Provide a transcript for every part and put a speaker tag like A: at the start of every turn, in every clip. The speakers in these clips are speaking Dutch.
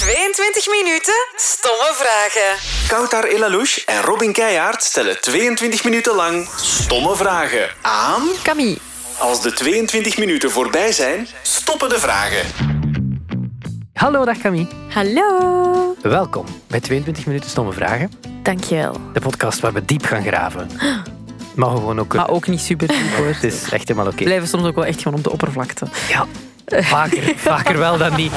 A: 20 minuten stomme vragen.
B: Koutar Elalouche en Robin Keijaard stellen 22 minuten lang stomme vragen aan...
C: Camille,
B: Als de 22 minuten voorbij zijn, stoppen de vragen.
D: Hallo, dag Camille.
C: hallo.
D: Welkom bij 22 minuten stomme vragen.
C: Dankjewel.
D: De podcast waar we diep gaan graven. Maar gewoon ook...
C: Maar ook niet super diep hoor.
D: Het is echt helemaal oké.
C: Blijven soms ook wel echt gewoon op de oppervlakte.
D: Ja. Vaker, vaker wel dan niet.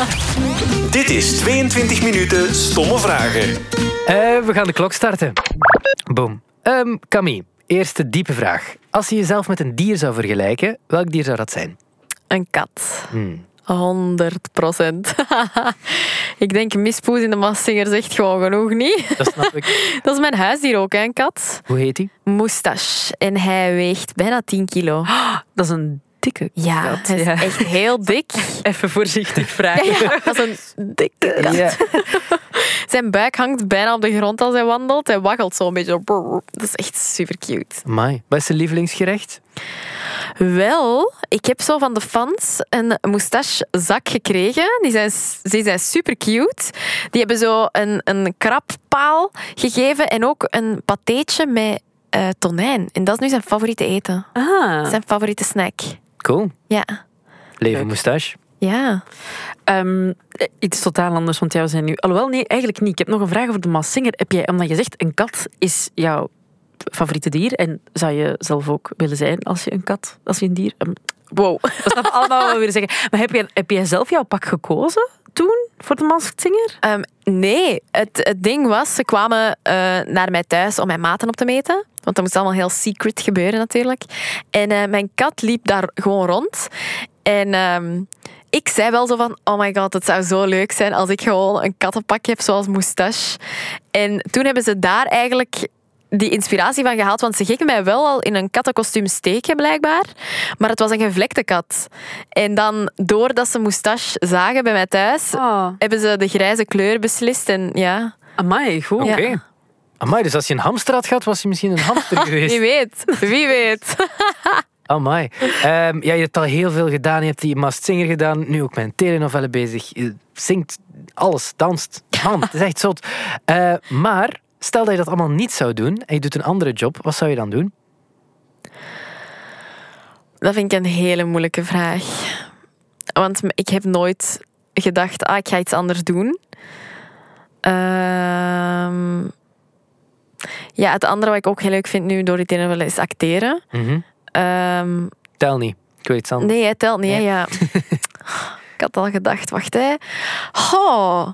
B: Dit is 22 minuten stomme vragen.
D: Eh, we gaan de klok starten. Boom. Ehm, Camille, eerste diepe vraag. Als je jezelf met een dier zou vergelijken, welk dier zou dat zijn?
C: Een kat.
D: Hmm.
C: 100 procent. ik denk mispoes in de massinger zegt gewoon genoeg niet.
D: Dat snap ik.
C: Dat is mijn huisdier ook, hè, een kat.
D: Hoe heet die?
C: Moustache. En hij weegt bijna 10 kilo.
E: Dat is een dikke.
C: Ja,
E: Kat,
C: hij is
E: ja.
C: echt heel dik.
E: Even voorzichtig vragen.
C: Ja, dat is een dikke kat.
D: Ja.
C: Zijn buik hangt bijna op de grond als hij wandelt. Hij waggelt zo een beetje. Dat is echt super cute.
D: Mai. Wat is zijn lievelingsgerecht?
C: Wel, ik heb zo van de fans een moustachezak gekregen. Die zijn, die zijn super cute. Die hebben zo een, een krabpaal gegeven en ook een patéetje met eh, tonijn. En dat is nu zijn favoriete eten.
E: Ah.
C: Zijn favoriete snack.
D: Cool.
C: Ja.
D: Leven
E: Leuk.
D: moustache.
C: Ja.
E: Ehm, eh, iets totaal anders, want jou zijn nu... Alhoewel, nee, eigenlijk niet. Ik heb nog een vraag over de Massinger. Heb jij, omdat je zegt, een kat is jouw favoriete dier. En zou je zelf ook willen zijn als je een kat, als je een dier... ehm, wow, dat snap ik allemaal wat we willen zeggen. Maar heb jij, heb jij zelf jouw pak gekozen toen voor de Massinger?
C: Ehm, nee, het, het ding was, ze kwamen eh, naar mij thuis om mijn maten op te meten. Want dat moest allemaal heel secret gebeuren natuurlijk. En eh, mijn kat liep daar gewoon rond. En ehm, ik zei wel zo van, oh my god, het zou zo leuk zijn als ik gewoon een kattenpak heb zoals moustache. En toen hebben ze daar eigenlijk die inspiratie van gehaald. Want ze gingen mij wel al in een kattenkostuum steken, blijkbaar. Maar het was een gevlekte kat. En dan, doordat ze moustache zagen bij mij thuis,
E: Ah.
C: hebben ze de grijze kleur beslist. En ja,
E: Amai, goed.
D: Oké.
C: Ja.
D: Amai, dus als je een hamster had gehad, was je misschien een hamster geweest.
C: wie weet, wie weet.
D: Amai. Ehm ja, je hebt al heel veel gedaan. Je hebt die Mast Singer gedaan. Nu ook met een telenovelle bezig. Je zingt alles, danst. Man, het is echt zot. Eh, maar stel dat je dat allemaal niet zou doen en je doet een andere job, wat zou je dan doen?
C: Dat vind ik een hele moeilijke vraag. Want m- ik heb nooit gedacht, ah, ik ga iets anders doen. Ehm, ja, het andere wat ik ook heel leuk vind nu door dit willen is acteren.
D: Mhm.
C: Ehm,
D: Tel niet. Ik weet iets anders.
C: nee, het telt niet, hè,
D: Nee.
C: ja. ik had al gedacht, wacht hè. Oh,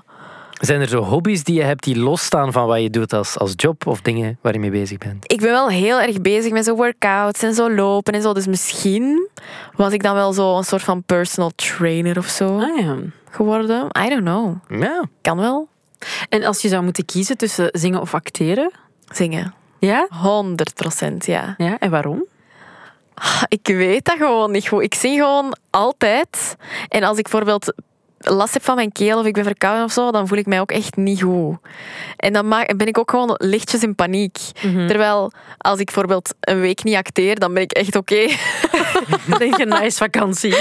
D: Zijn er zo hobby's die je hebt die losstaan van wat je doet als, als job of dingen waar je mee bezig bent?
C: ik ben wel heel erg bezig met zo workouts en zo lopen en zo. Dus misschien was ik dan wel zo een soort van personal trainer of zo
E: Ah, ja.
C: geworden. I don't know.
D: Ja.
C: Kan wel.
E: En als je zou moeten kiezen tussen zingen of acteren?
C: Zingen.
E: Ja?
C: 100 procent, ja. Ah,
E: Ja, en waarom?
C: Ik weet dat gewoon niet goed. Ik zing gewoon altijd. En als ik bijvoorbeeld last heb van mijn keel of ik ben verkouden of zo, dan voel ik mij ook echt niet goed. En dan ma- ben ik ook gewoon lichtjes in paniek. Terwijl als ik bijvoorbeeld een week niet acteer, dan ben ik echt oké.
E: Dan denk je, nice vakantie.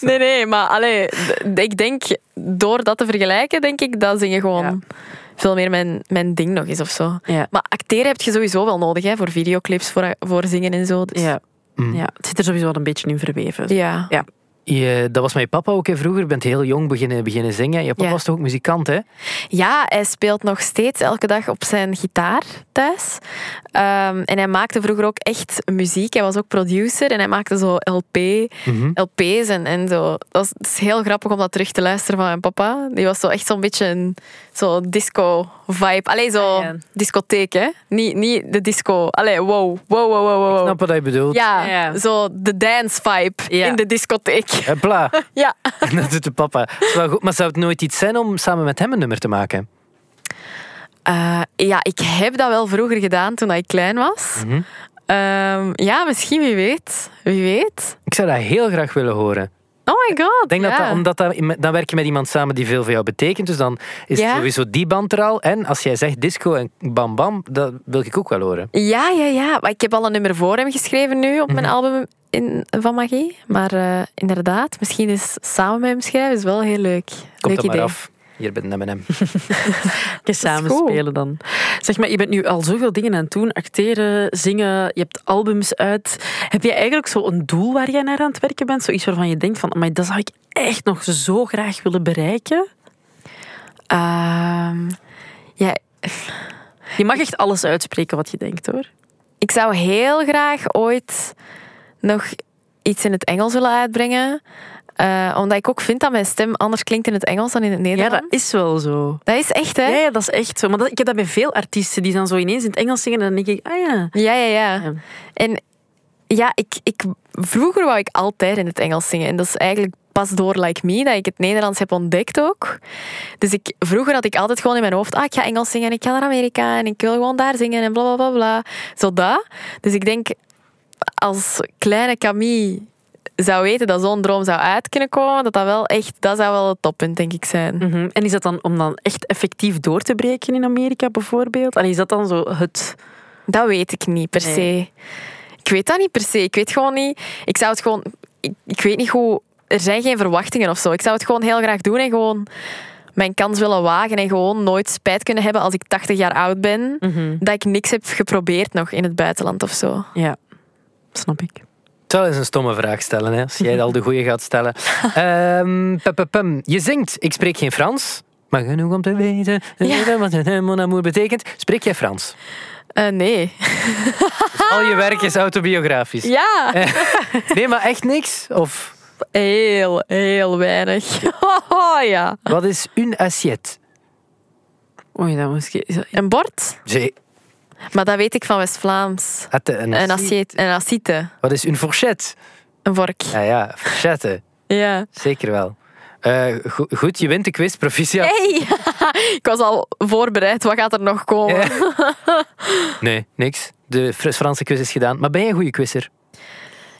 C: Nee, nee, maar allee, d- ik denk door dat te vergelijken, denk ik dat zingen gewoon veel meer mijn, mijn ding nog is of zo.
E: Ja.
C: Maar acteren heb je sowieso wel nodig hè, voor videoclips, voor, voor zingen en zo. Dus,
E: Ja.
D: Mm.
E: ja, het zit er sowieso wel een beetje in verweven.
C: ja.
D: Je, dat was mijn papa ook hè, vroeger. Je bent heel jong beginnen, beginnen zingen. Je papa
C: Ja.
D: was toch ook muzikant, hè?
C: Ja, hij speelt nog steeds elke dag op zijn gitaar thuis. Ehm, en hij maakte vroeger ook echt muziek. Hij was ook producer en hij maakte zo LP,
D: Mhm.
C: LP's en, en zo. Dat was- het is heel grappig om dat terug te luisteren van mijn papa. Die was zo echt zo'n beetje een zo disco-vibe. Allee, zo
E: Ah, ja.
C: discotheek, hè? Niet, niet de disco. Allee, wow, wow, wow, wow, wow.
D: Ik snap wat je bedoelt.
C: Ja,
E: Ja.
C: zo de dance-vibe
E: Ja.
C: in de discotheek.
D: Hopla.
C: Ja.
D: En dat doet de papa. Dat is wel goed, maar zou het nooit iets zijn om samen met hem een nummer te maken?
C: Eh, ja, ik heb dat wel vroeger gedaan toen ik klein was.
D: Mhm.
C: Ehm, ja, misschien, wie weet. Wie weet.
D: Ik zou dat heel graag willen horen.
C: Oh my god.
D: Ik denk
C: ja.
D: dat, dat omdat dat, dan werk je met iemand samen die veel voor jou betekent. Dus dan is
C: Ja.
D: het sowieso die band er al. En als jij zegt disco en bam bam, dat wil ik ook wel horen.
C: Ja, ja, ja. Maar ik heb al een nummer voor hem geschreven nu op mijn
D: Mhm.
C: album in, van Magie. Maar eh, inderdaad, misschien is samen met hem schrijven is wel heel leuk.
D: komt
C: Leuk
D: dat maar
C: idee.
D: af. Hier bij de M&M.
E: Even samen
C: goed.
E: spelen dan. Zeg maar, je bent nu al zoveel dingen aan het doen. Acteren, zingen, je hebt albums uit. Heb je eigenlijk zo'n doel waar jij naar aan het werken bent? Zoiets waarvan je denkt van, maar dat zou ik echt nog zo graag willen bereiken?
C: Ehm, ja,
E: Je mag echt alles uitspreken wat je denkt, hoor.
C: ik zou heel graag ooit nog iets in het Engels willen uitbrengen. Eh, omdat ik ook vind dat mijn stem anders klinkt in het Engels dan in het
E: Ja,
C: Nederlands.
E: dat is wel zo.
C: dat is echt, hè?
E: Ja, ja, dat is echt zo. Maar dat, ik heb dat bij veel artiesten die dan zo ineens in het Engels zingen. En dan denk ik, ah ja.
C: Ja, ja, ja.
E: Ja.
C: En ja, ik, ik, vroeger wou ik altijd in het Engels zingen. En dat is eigenlijk pas door Like Me dat ik het Nederlands heb ontdekt ook. Dus ik, vroeger had ik altijd gewoon in mijn hoofd... Ah, ik ga Engels zingen en ik ga naar Amerika en ik wil gewoon daar zingen en bla, bla, bla, bla. Zo dat. Dus ik denk, als kleine Camille zou weten dat zo'n droom zou uit kunnen komen, dat dat wel echt... Dat zou wel het toppunt, denk ik, zijn.
E: Mhm. En is dat dan om dan echt effectief door te breken in Amerika bijvoorbeeld? En is dat dan zo het...
C: Dat weet ik niet per
E: Nee.
C: se. Ik weet dat niet per se. Ik weet gewoon niet. Ik zou het gewoon. Ik, ik weet niet hoe. Er zijn geen verwachtingen of zo. Ik zou het gewoon heel graag doen en gewoon mijn kans willen wagen. En gewoon nooit spijt kunnen hebben als ik 80 jaar oud ben. Dat ik niks heb geprobeerd nog in het buitenland of zo.
E: Ja, snap ik.
D: Ik zal eens een stomme vraag stellen, hè, als jij al de goede gaat stellen. Ehm, pum, pum, pum. Je zingt, ik spreek geen Frans, maar genoeg om te weten eh, wat een mon amour betekent. Spreek jij Frans?
C: Eh, nee.
D: Dus al je werk is autobiografisch.
C: Ja,
D: Nee, maar echt niks? Of
C: heel, heel weinig. Oh, ja.
D: wat is une assiette?
E: Oei, dat moest ik... is dat-
C: Een bord?
D: J'ai-
C: Maar dat weet ik van West-Vlaams.
D: had
C: Een
D: Een assiette.
C: assiette, een assiette,
D: Wat is une fourchette?
C: een vork.
D: Ja, ja, fourchette.
C: Ja.
D: Zeker wel. Eh, go- goed, je wint de quiz, proficiat.
C: Hey, ik was al voorbereid. Wat gaat er nog komen?
D: Nee, niks. De Fr- Franse quiz is gedaan. Maar ben je een goede quizzer?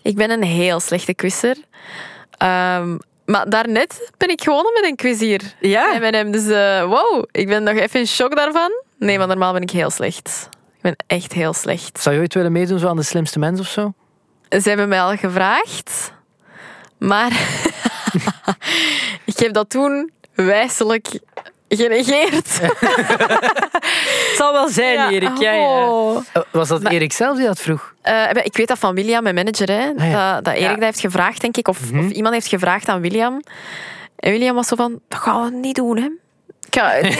C: Ik ben een heel slechte quizzer. Ehm, maar daarnet ben ik gewonnen met een quiz hier.
E: Ja.
C: Met hem. Dus eh, wow, ik ben nog even in shock daarvan. Nee, maar normaal ben ik heel slecht. Ik ben echt heel slecht.
D: Zou je ooit willen meedoen zo aan de slimste mens of zo?
C: Ze hebben mij al gevraagd. Maar ik heb dat toen wijselijk genegeerd.
E: Het zal wel zijn, Erik. Ja, ja.
C: Oh.
D: Eh, Was dat Erik zelf die dat vroeg?
C: Eh, ik weet dat van William, mijn manager, hè,
D: Ah, ja. Mhm.
C: dat, dat Erik
E: Ja.
C: dat heeft gevraagd, denk ik. Of, of iemand heeft gevraagd aan William. En William was zo van, dat gaan we niet doen, hè. Ik ga- nee.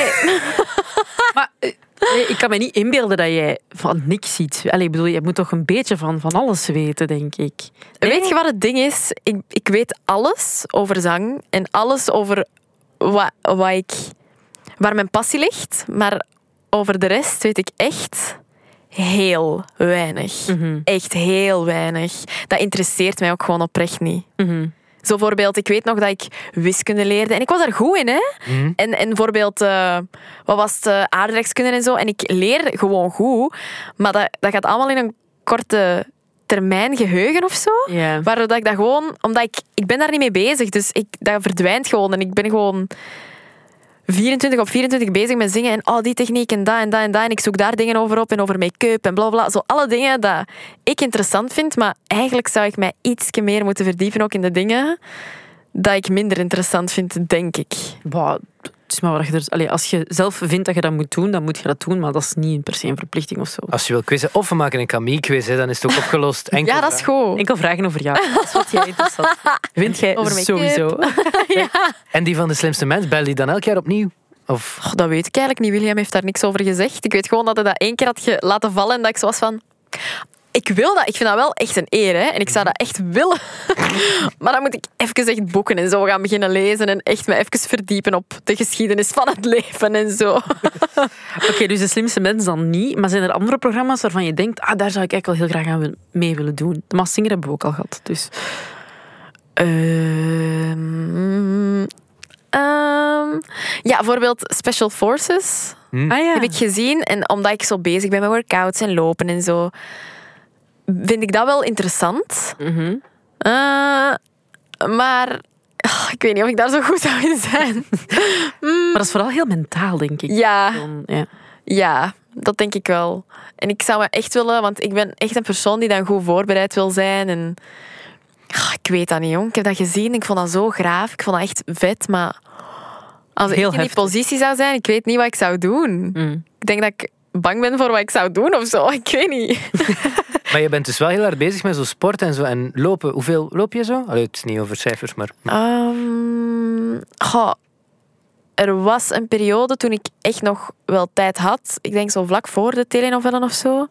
E: Maar eh, nee, ik kan me niet inbeelden dat jij van niks ziet. Allee, ik bedoel, je moet toch een beetje van, van alles weten, denk ik.
C: Weet je wat het ding is? Ik, ik weet alles over zang en alles over wa, wat ik, waar mijn passie ligt. Maar over de rest weet ik echt heel weinig. Echt heel weinig. Dat interesseert mij ook gewoon oprecht niet. Zo bijvoorbeeld, ik weet nog dat ik wiskunde leerde. En ik was daar goed in, hè. En, en bijvoorbeeld, eh, wat was het, eh, aardrijkskunde en zo. En ik leer gewoon goed. Maar dat, dat gaat allemaal in een korte termijn geheugen of zo.
E: Ja.
C: Waardoor dat ik dat gewoon... Omdat ik... Ik ben daar niet mee bezig, dus ik, dat verdwijnt gewoon. En ik ben gewoon 24 op 24 bezig met zingen. En oh, die techniek en dat en dat en dat. En ik zoek daar dingen over op en over make-up en bla bla. Zo alle dingen dat ik interessant vind. Maar eigenlijk zou ik mij ietsje meer moeten verdiepen ook in de dingen dat ik minder interessant vind, denk ik.
E: Bah, het is maar wat je er, allee, als je zelf vindt dat je dat moet doen, dan moet je dat doen. Maar dat is niet per se een verplichting of zo.
D: Als je wil quizzen, of we maken een Camille-quiz, hè, dan is het ook opgelost. Enkel
C: Ja, dat is goed.
E: Enkel vragen over jou. Dat is wat jij interessant vindt. Wint jij
C: Over make-up.
E: sowieso.
D: En die van de slimste mens, bel die dan elk jaar opnieuw? Of
C: Och, dat weet ik eigenlijk niet. William heeft daar niks over gezegd. Ik weet gewoon dat hij dat één keer had ge- laten vallen en dat ik zo was van... Ik wil dat. Ik vind dat wel echt een eer. Hè? En ik zou dat echt willen. maar dan moet ik even echt boeken en zo gaan beginnen lezen. En echt me even verdiepen op de geschiedenis van het leven en zo.
E: Oké, dus de slimste mens dan niet. Maar zijn er andere programma's waarvan je denkt, ah, daar zou ik eigenlijk wel heel graag aan wil- mee willen doen? De Maas Singer hebben we ook al gehad. Dus
C: Ehm, ehm, ja, bijvoorbeeld Special Forces.
E: ah, ja.
C: heb ik gezien. En omdat ik zo bezig ben met workouts en lopen en zo, vind ik dat wel interessant. Eh, maar ah, ik weet niet of ik daar zo goed zou in zijn.
E: Maar dat is vooral heel mentaal, denk ik.
C: ja,
E: Dan, ja.
C: ja, dat denk ik wel. En ik zou me echt willen, want ik ben echt een persoon die dan goed voorbereid wil zijn. En ah, ik weet dat niet, jong. Ik heb dat gezien. Ik vond dat zo graaf. Ik vond dat echt vet, maar Als ik
E: Heel
C: in die
E: heftig.
C: positie zou zijn, ik weet niet wat ik zou doen.
E: Mm.
C: Ik denk dat ik bang ben voor wat ik zou doen of zo. Ik weet niet.
D: Maar je bent dus wel heel hard bezig met zo'n sport en zo. En lopen, hoeveel loop je zo? Allee, het is niet over cijfers, maar...
C: Ah, Ehm, goh, er was een periode toen ik echt nog wel tijd had. Ik denk zo vlak voor de telenovellen of zo.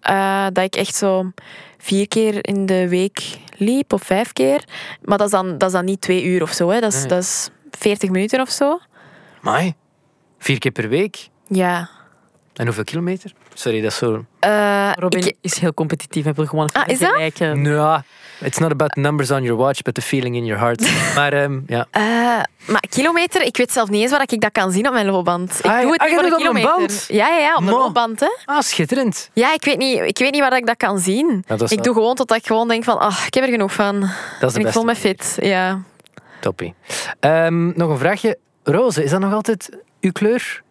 C: eh, dat ik echt zo vier keer in de week liep of vijf keer. Maar dat is dan, dat is dan niet twee uur of zo. Hè. Dat, is,
D: Nee.
C: dat is 40 minuten of zo.
D: Amai. Vier keer per week.
C: Ja.
D: En hoeveel kilometer? Sorry, dat is zo...
C: Eh,
E: Robin
C: ik-
E: is heel competitief en wil gewoon eh,
C: Ah, is dat?
E: vergelijken.
D: Nou, it's not about the numbers on your watch, but the feeling in your heart. maar ehm, ja.
C: Eh, maar kilometer, ik weet zelf niet eens waar ik dat kan zien op mijn loopband. Ik
D: Ah,
C: doe het
D: ah,
C: niet
D: je
C: voor
D: doet
C: de
D: het op een
C: kilometer.
D: band?
C: Ja, ja, ja, op de
D: Mo.
C: loopband, hè.
D: Ah, schitterend.
C: Ja, ik weet niet, ik weet niet waar ik dat kan zien.
D: Ja, dat is
C: ik
D: wel-
C: doe gewoon totdat ik gewoon denk van, ah, ik heb er genoeg van.
D: Dat is de
C: en ik voel
D: beste.
C: me fit, ja.
D: Toppie. Ehm, nog een vraagje. Roze, is dat nog altijd uw kleur?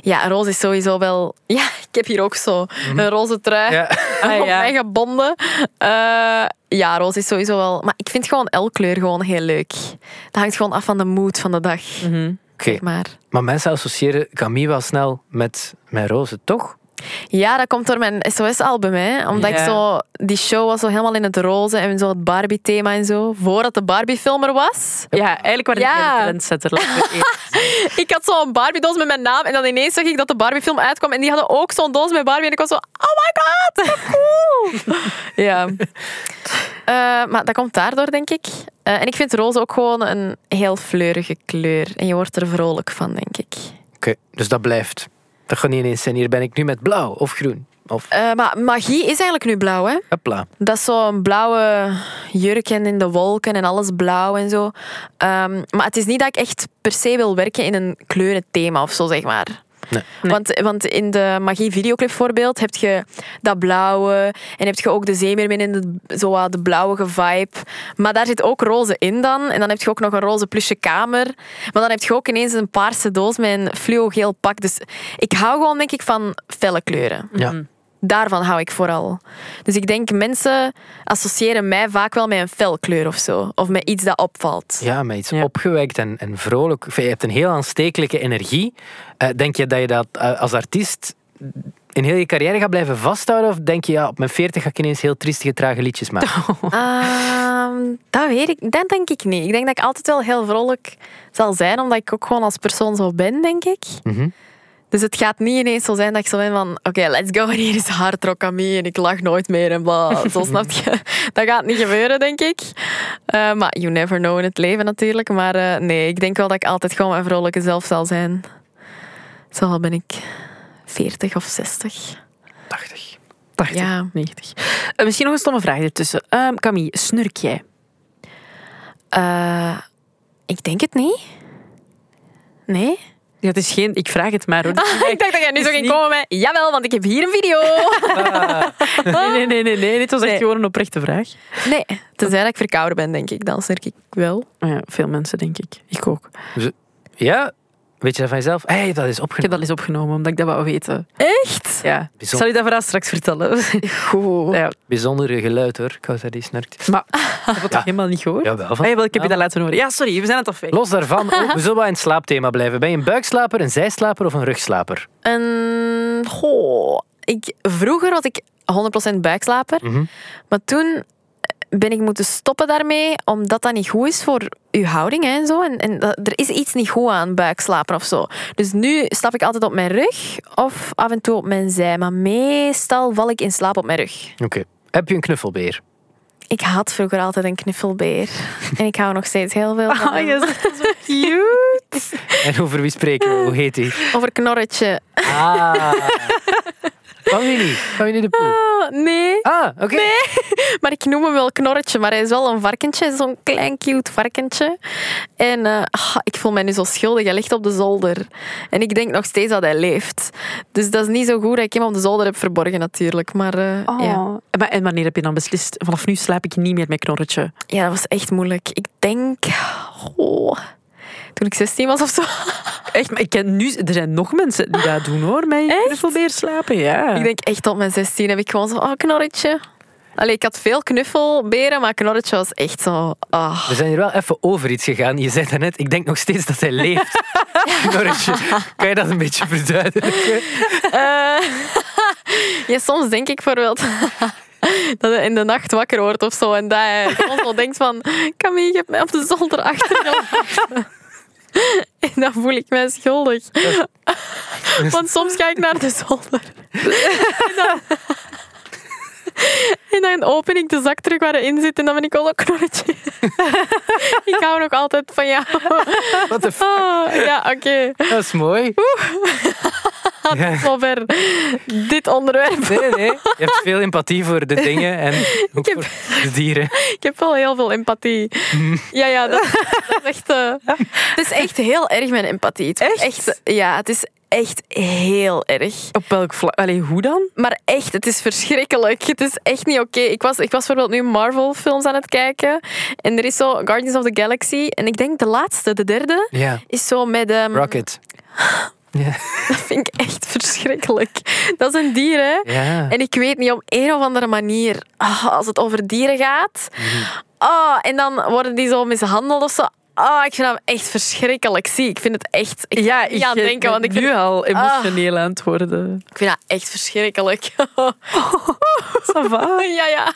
C: Ja, roze is sowieso wel... Ja, ik heb hier ook zo een roze trui
E: Ah,
C: op
E: Mhm. ja.
C: mij gebonden. Eh, ja, roze is sowieso wel... Maar ik vind gewoon elke kleur gewoon heel leuk. Dat hangt gewoon af van de mood van de dag,
E: Mhm.
D: Oké.
C: zeg maar.
D: Maar mensen associëren Camille wel snel met, met roze, toch?
C: Ja, dat komt door mijn SOS-album, hè. Omdat ik
E: Ja.
C: zo... Die show was zo helemaal in het roze en zo het Barbie-thema en zo. Voordat de Barbie-film er was.
E: Ja, eigenlijk waar
C: Ja.
E: ik een trendsetter laat ik
C: Ik had zo'n Barbie-doos met mijn naam en dan ineens zag ik dat de Barbie-film uitkwam en die hadden ook zo'n doos met Barbie en ik was zo... Oh my god, wat cool! ja. Eh, maar dat komt daardoor, denk ik. Eh, en ik vind roze ook gewoon een heel fleurige kleur. En je wordt er vrolijk van, denk ik.
D: Oké, dus dat blijft. Dat gaat niet ineens zijn. Hier ben ik nu met blauw of groen. Of
C: Eh, maar magie is eigenlijk nu blauw, hè.
D: hopla.
C: Dat is zo'n blauwe jurk en in de wolken en alles blauw en zo. Ehm, maar het is niet dat ik echt per se wil werken in een kleurenthema of zo, zeg maar.
D: Nee.
E: Nee.
C: Want, want in de Magie Videoclip voorbeeld heb je dat blauwe en heb je ook de zeemeermin in de, zo wat de blauwe vibe. Maar daar zit ook roze in dan. En dan heb je ook nog een roze plusje kamer. Maar dan heb je ook ineens een paarse doos met een fluogeel pak. Dus ik hou gewoon denk ik van felle kleuren.
D: Ja.
C: Daarvan hou ik vooral. Dus ik denk, mensen associëren mij vaak wel met een felkleur of zo. Of met iets dat opvalt.
D: Ja, met iets
E: Ja.
D: opgewekt en, en vrolijk. Enfin, je hebt een heel aanstekelijke energie. Eh, denk je dat je dat eh, als artiest in heel je carrière gaat blijven vasthouden? Of denk je, ja, op mijn 40 ga ik ineens heel triestige, trage liedjes maken?
C: Ehm, dat weet ik, dat denk ik niet. Ik denk dat ik altijd wel heel vrolijk zal zijn, omdat ik ook gewoon als persoon zo ben, denk ik.
D: Mhm.
C: Dus het gaat niet ineens zo zijn dat ik zo ben van, oké, let's go, en hier is hard rock aan mij en ik lach nooit meer en bla. Zo snap je? Dat gaat niet gebeuren, denk ik. Eh, maar you never know in het leven natuurlijk. Maar eh, nee, ik denk wel dat ik altijd gewoon mijn vrolijke zelf zal zijn. Zo al ben ik 40 of 60.
D: 80.
E: 80,
C: Ja.
E: 90. Eh, misschien nog een stomme vraag ertussen. Ehm, Camille, snurk jij?
C: Eh, ik denk het niet. Nee?
E: Ja, het is geen... Ik vraag het maar, hoor.
C: Ah, ik dacht dat jij nu
E: Is
C: zo ging
E: niet- Ah.
C: komen met... Jawel, want ik heb hier een video. Ah.
E: Nee, nee, nee, nee, nee. Dit was echt
C: Nee.
E: gewoon een oprechte vraag.
C: Nee, tenzij dat ik verkouden ben, denk ik. Dan snurk ik wel.
E: Maar Ja, veel mensen, denk ik. Ik ook.
D: Ja? Weet je dat van jezelf? Hé, hey, dat is
E: Ik heb
D: opgenomen.
E: dat eens opgenomen, omdat ik dat wou weten.
C: Echt?
E: Ja.
D: Bijzonder.
E: Zal je dat verhaal straks vertellen?
C: Goed.
E: Ja.
D: Bijzondere geluid hoor. Ik houd dat die snurkt.
E: Maar heb je dat toch helemaal niet gehoord?
D: Jawel, van-
E: Ah, jawel, ik heb je dat laten horen. Ja, sorry, we zijn het al fijn.
D: Los daarvan, oh, we zullen wel in het slaapthema blijven. Ben je een buikslaper, een zijslaper of een rugslaper?
C: En, goh, ik, vroeger was ik 100% buikslaper.
D: Mhm.
C: Maar toen ben ik moeten stoppen daarmee, omdat dat niet goed is voor uw houding hè, en zo. En, en dat- er is iets niet goed aan buikslapen of zo. Dus nu slaap ik altijd op mijn rug of af en toe op mijn zij. Maar meestal val ik in slaap op mijn rug.
D: Oké. Heb je een knuffelbeer?
C: Ik had vroeger altijd een knuffelbeer. en ik hou nog steeds heel veel van
E: Ah,
C: hem.
E: je zegt dat zo cute.
D: En over wie spreken we? Hoe heet die?
C: Over knorretje.
D: Ah. Familie. Familie de Poel.
C: Ah, nee.
D: Ah, oké.
C: Maar ik noem hem wel Knorretje, maar hij is wel een varkentje. Hij is Zo'n klein, cute varkentje. En eh, ah, ik voel mij nu zo schuldig. Hij ligt op de zolder. En ik denk nog steeds dat hij leeft. Dus dat is niet zo goed dat ik hem op de zolder heb verborgen, natuurlijk. Maar eh,
E: Oh.
C: ja.
E: Ja. Maar, en wanneer heb je dan beslist, vanaf nu slaap ik niet meer met knorretje?
C: ja, dat was echt moeilijk. Ik denk... Oh, toen ik 16 was of zo.
E: Echt, maar ik ken nu... Er zijn nog mensen die dat doen, hoor, met je knuffelbeer slapen. Ja.
C: Ik denk echt op mijn 16 heb ik gewoon zo... Oh, Knorretje. Allee, ik had veel knuffelberen, maar Knorretje was echt zo... ah.
D: We zijn hier wel even over iets gegaan. Je zei daarnet, ik denk nog steeds dat hij leeft. knorretje. Kan je dat een beetje verduidelijken?
C: Eh, ja, soms denk ik bijvoorbeeld dat je in de nacht wakker wordt of zo. En dat je soms wel denkt van, Camille, je hebt mij op de zolder achterin. opgehangen." En dan voel ik mij schuldig. Want soms ga ik naar de zolder. En dan, en dan open ik de zak terug waar erin zit en dan ben ik al een knorretje. ik hou nog altijd van jou.
D: Wat de f...
C: Oh, ja, oké.
D: Dat is mooi. Ja.
C: Zover dit onderwerp.
D: Nee, nee. Je hebt veel empathie voor de dingen en ook
C: Ik
D: voor
C: heb-
D: de dieren.
C: Ik heb wel heel veel empathie. Ja, ja, dat, dat is echt... eh, het is echt heel erg mijn empathie. Het is
E: Echt?
C: Ja, het is echt heel erg.
E: Op welk vlak? Allee, hoe dan?
C: Maar echt, het is verschrikkelijk. Het is echt niet oké. Ik, was, ik was bijvoorbeeld nu Marvel-films aan het kijken. En er is zo Guardians of the Galaxy. En ik denk de laatste, de derde,
D: Ja.
C: is zo met... ehm,
D: Rocket. Ja.
C: dat vind ik echt verschrikkelijk. Dat is een dier, hè?
D: ja.
C: En ik weet niet, op een of andere manier, ah, als het over dieren gaat. ah, en dan worden die zo mishandeld of zo. Ah, ik vind dat echt verschrikkelijk. Zie, ik vind het echt... Ik ja, ik aan
E: bent
C: denken, want ik
E: nu
C: vind, Ah.
E: al emotioneel aan het worden.
C: ik vind dat echt verschrikkelijk. Oh,
E: Ça va.
C: ja, ja.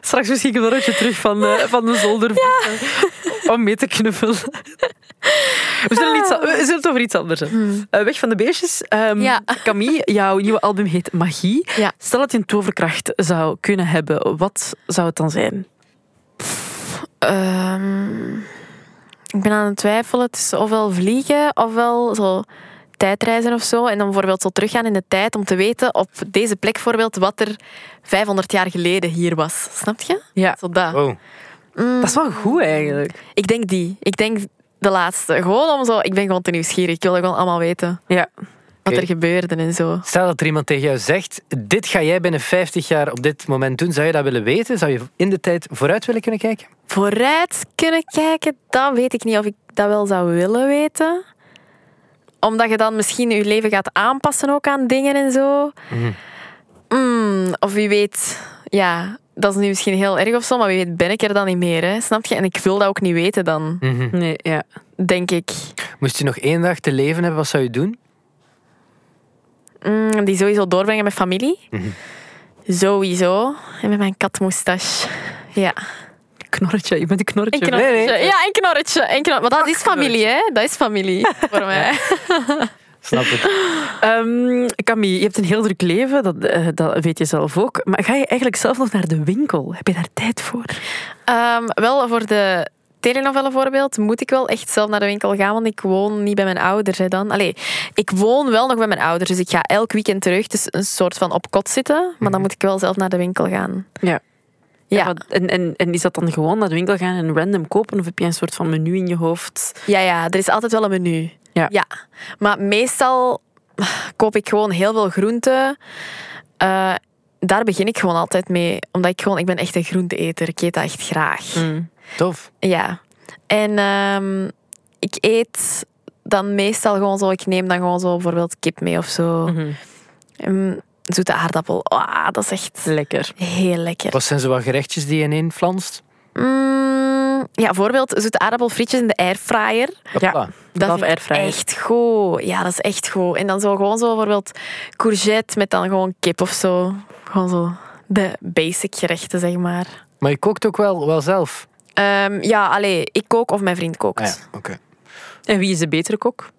E: Straks misschien een rotje terug van, eh, van de zolder eh, om mee te knuffelen. We zullen, iets, we zullen het over iets anders hebben. Eh, weg van de beestjes. Ehm,
C: Hmm. Ja.
E: Camille, jouw nieuwe album heet Magie.
C: Ja.
E: Stel dat je een toverkracht zou kunnen hebben, wat zou het dan zijn?
C: Ehm, ik ben aan het twijfelen tussen ofwel vliegen ofwel zo tijdreizen of zo. En dan bijvoorbeeld zo teruggaan in de tijd om te weten op deze plek bijvoorbeeld wat er 500 jaar geleden hier was. Snap je?
E: Ja.
C: Zo dat.
D: Wow.
C: Mm.
E: Dat is wel goed eigenlijk.
C: Ik denk die. Ik denk de laatste. Gewoon om zo... Ik ben gewoon te nieuwsgierig. Ik wil dat gewoon allemaal weten.
E: Ja.
C: Wat
D: Oké.
C: er gebeurde en zo.
D: Stel dat er iemand tegen jou zegt, dit ga jij binnen 50 jaar op dit moment doen. Zou je dat willen weten? Zou je in de tijd vooruit willen kunnen kijken?
C: Vooruit kunnen kijken, dan weet ik niet of ik dat wel zou willen weten. Omdat je dan misschien je leven gaat aanpassen ook aan dingen en zo. Mm, of wie weet... Ja, dat is nu misschien heel erg of zo, maar wie weet ben ik er dan niet meer. Hè? Snap je? En ik wil dat ook niet weten dan,
E: Nee, ja.
C: denk ik.
D: Moest je nog één dag te leven hebben, wat zou je doen?
C: Mm, die sowieso doorbrengen met familie.
E: Mhm.
C: Sowieso. En met mijn katmoustache. Ja.
E: Knorretje, je bent een knorretje.
C: Een knorretje.
D: Nee, nee.
C: Ja, een knorretje. Een knor- Maar dat is familie, hè? Dat is familie voor mij.
D: Snap het.
E: Ehm, Camille, je hebt een heel druk leven, dat, eh, dat weet je zelf ook. Maar ga je eigenlijk zelf nog naar de winkel? Heb je daar tijd voor?
C: Ehm, wel, voor de telenovelle voorbeeld moet ik wel echt zelf naar de winkel gaan, want ik woon niet bij mijn ouders hè, dan. Allee, ik woon wel nog bij mijn ouders, dus ik ga elk weekend terug. Dus een soort van op kot zitten, maar dan moet ik wel zelf naar de winkel gaan.
E: Mhm. Ja.
C: Ja,
E: wat- En, en, en is dat dan gewoon naar de winkel gaan en random kopen? Of heb je een soort van menu in je hoofd?
C: Ja, ja, er is altijd wel een menu.
E: Ja.
C: Maar meestal koop ik gewoon heel veel groenten. Eh, daar begin ik gewoon altijd mee. Omdat ik gewoon, ik ben echt een groenteeter. Ik eet dat echt graag.
D: Tof.
C: Ja. En ehm, ik eet dan meestal gewoon zo, ik neem dan gewoon zo bijvoorbeeld kip mee of zo. Ehm, zoete aardappel. Ah, dat is echt
E: Lekker.
C: heel lekker.
D: Wat zijn zo wat gerechtjes die je ineen flanst?
C: Mm, ja, bijvoorbeeld zoete aardappelfrietjes in de airfryer.
D: Hopla.
C: Dat
E: Love
C: vind ik
E: airfryer.
C: echt goed. Ja, dat is echt goed. En dan zo gewoon zo bijvoorbeeld courgette met dan gewoon kip of zo. Gewoon zo de basic gerechten, zeg maar.
D: Maar je kookt ook wel, wel zelf.
C: Ehm, ja, allee, ik kook of mijn vriend kookt.
D: Ah ja, oké.
E: En wie is de betere kok?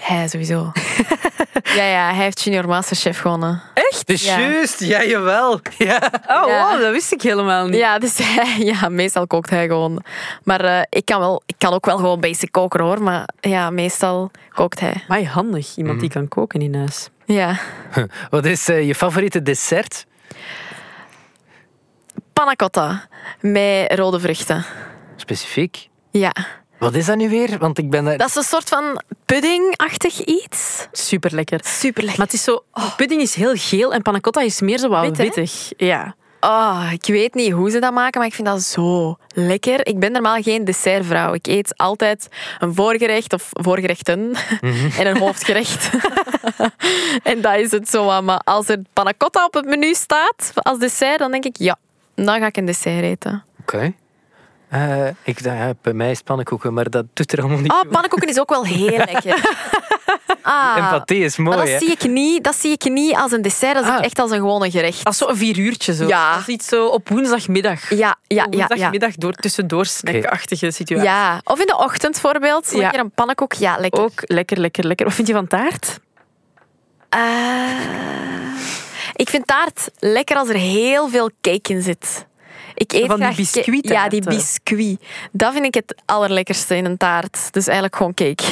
C: Hij sowieso. ja, ja, hij heeft Junior Masterchef gewonnen.
D: Het is
C: Ja.
D: juist, ja, jawel. Ja.
E: Oh,
C: Ja.
E: wow, dat wist ik helemaal niet.
C: Ja, dus hij- ja, meestal kookt hij gewoon. Maar eh, ik, kan wel, ik kan ook wel gewoon basic koken hoor. Maar ja, meestal kookt hij.
E: Maar handig, iemand die kan koken in huis.
C: Ja.
D: Wat is eh, je favoriete dessert?
C: Panna cotta met rode vruchten.
D: Specifiek.
C: Ja.
D: Wat is dat nu weer? Want ik ben daar...
C: Dat is een soort van puddingachtig iets.
E: Super lekker.
C: Super lekker.
E: Maar het is zo, Oh, pudding is heel geel en panna cotta is meer zo
D: Oh,
E: wat
C: Wit, hè?
E: wittig. Ja.
C: Oh, ik weet niet hoe ze dat maken, maar ik vind dat zo lekker. Ik ben normaal geen dessertvrouw. Ik eet altijd een voorgerecht of voorgerechten
D: Mhm.
C: en een hoofdgerecht. en dat is het zo. wat. Maar als er panna cotta op het menu staat als dessert, dan denk ik ja, dan ga ik een dessert eten.
D: Oké. Eh, ik dacht, ja, bij mij is pannenkoeken, maar dat doet er allemaal niet.
C: Oh, pannenkoeken is ook wel heel lekker. Ah,
D: Empathie is mooi,
C: maar dat
D: hè?
C: zie, ik niet, dat zie ik niet als een dessert, dat is
D: Ah.
C: echt als een gewone gerecht.
E: Dat is zo'n vier uurtje zo.
C: Ja.
E: Dat is iets zo op woensdagmiddag.
C: Ja,
D: Oh,
C: ja, ja, ja.
E: woensdagmiddag door, tussendoor snackachtige situatie.
C: ja. Of in de ochtend bijvoorbeeld,
E: Ja.
C: lekker een pannenkoek. Ja, lekker.
E: Ook lekker, lekker, lekker. Wat vind je van taart?
C: Eh, ik vind taart lekker als er heel veel cake in zit. Ik eet
E: Van die eh.
C: graag ca-
E: biscuittaarten.
C: Ja, die biscuit. Dat vind ik het allerlekkerste in een taart. Dus eigenlijk gewoon cake.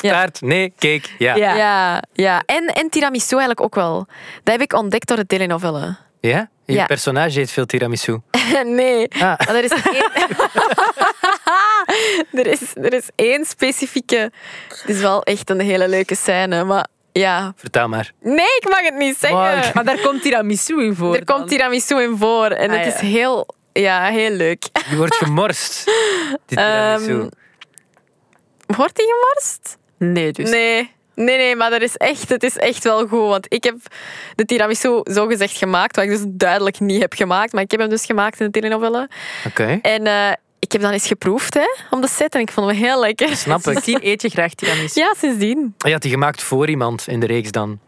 C: ja.
D: Taart, nee, cake, ja.
E: Ja.
D: Ja?
C: Ja, ja. En, en tiramisu eigenlijk ook wel. Dat heb ik ontdekt door de telenovelle.
D: Je
C: Ja.
D: personage eet veel tiramisu.
C: nee.
D: Ah.
C: Maar er is één... er, is, er is één specifieke... Het is wel echt een hele leuke scène, maar ja...
D: Vertel maar.
C: Nee, ik mag het niet zeggen.
D: Maar-
E: Maar daar komt tiramisu in voor.
C: Er komt tiramisu in voor en
E: Ah,
C: het is
E: ja.
C: heel, ja, heel leuk.
D: Je wordt gemorst. Die tiramisu.
C: Ehm, Wordt die gemorst?
E: Nee, dus.
C: Nee. Nee, nee, maar dat is echt, het is echt wel goed. Want ik heb de tiramisu zogezegd gemaakt, wat ik dus duidelijk niet heb gemaakt. Maar ik heb hem dus gemaakt in de telenovelle.
D: Oké.
C: En eh, ik heb dan eens geproefd hè, om de set en ik vond hem heel lekker.
D: Snap ik. Ah,
E: Misschien eet je graag tiramisu.
C: Ja, sindsdien.
D: Je had die gemaakt voor iemand in de reeks dan.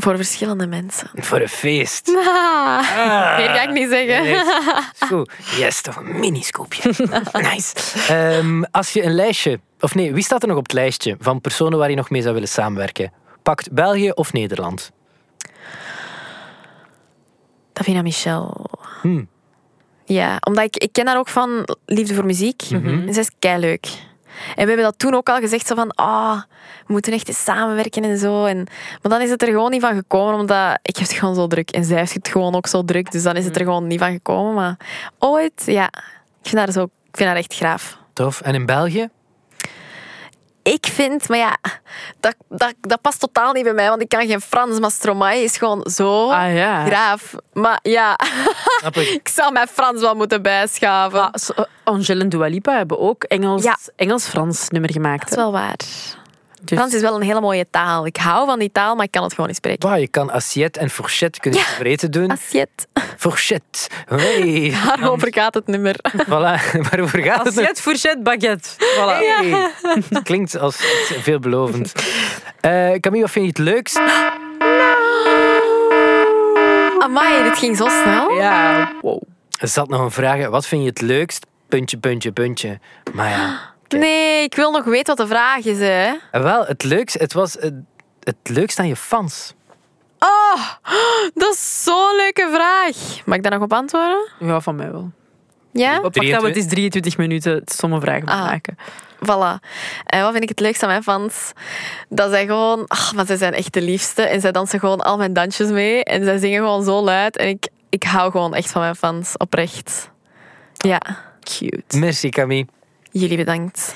C: Voor verschillende mensen.
D: Voor een feest.
C: Ah, meer ga ik niet zeggen.
D: Is Goed. Yes, toch een miniscoopje. Nice. Ehm, als je een lijstje, of nee, wie staat er nog op het lijstje van personen waar je nog mee zou willen samenwerken? Pakt België of Nederland?
C: Davina Michel.
D: Hmm.
C: Ja, omdat ik, ik ken haar ook van Liefde voor Muziek.
E: Mhm.
C: En zij is keileuk. En we hebben dat toen ook al gezegd, zo van, ah, we moeten echt eens samenwerken en zo. En, maar dan is het er gewoon niet van gekomen, omdat ik heb het gewoon zo druk. En zij heeft het gewoon ook zo druk, dus dan is het er
E: Mhm.
C: gewoon niet van gekomen. Maar ooit, ja, ik vind haar, zo, ik vind haar echt graaf.
D: Tof. En in België?
C: Ik vind, maar ja, dat, dat, dat past totaal niet bij mij, want ik kan geen Frans, maar Stromae is gewoon zo
E: Ah ja.
C: graaf. Maar ja,
D: Snap ik.
C: ik zou mijn Frans wel moeten bijschaven.
E: Maar zo- eh, Angèle en Dua Lipa hebben ook Engels,
C: Ja.
E: Engels-Frans nummer
C: Dat
E: gemaakt.
C: is wel waar.
E: Dus-
C: Frans is wel een hele mooie taal. Ik hou van die taal, maar ik kan het gewoon niet spreken.
D: Wauw, je kan assiette en fourchette kunnen
C: Ja.
D: vereten doen.
C: Asiet.
D: Fourchette. Hey.
C: Daarover gaat het nummer.
D: Voilà, waarover gaat het?
E: Assiette, fourchette, baguette. Voilà.
D: Hey. Klinkt als iets veelbelovend. Eh Camille, wat vind je het leukst?
C: Amai, dit ging zo snel.
E: Ja, wow.
D: Er zat nog een vraag. hè. Wat vind je het leukst? Puntje, puntje, puntje. Maar ja. oké.
C: Nee, ik wil nog weten wat de vraag is. Hè.
D: Eh, Wel, het leukst, het was het, het leukst aan je fans.
C: Oh, dat is zo'n leuke vraag. Mag ik daar nog op antwoorden?
E: Ja, van mij wel.
C: Ja?
E: Wat pak dat
D: 23?
E: we het is 23 minuten stomme vragen
C: Ah.
E: maken.
C: Voilà. En wat vind ik het leukst aan mijn fans? Dat zij gewoon... Ach, maar zij zijn echt de liefste. En zij dansen gewoon al mijn dansjes mee. En zij zingen gewoon zo luid. En ik, ik hou gewoon echt van mijn fans. Oprecht. Ja. Cute.
D: Merci, Camille.
C: Jullie bedankt.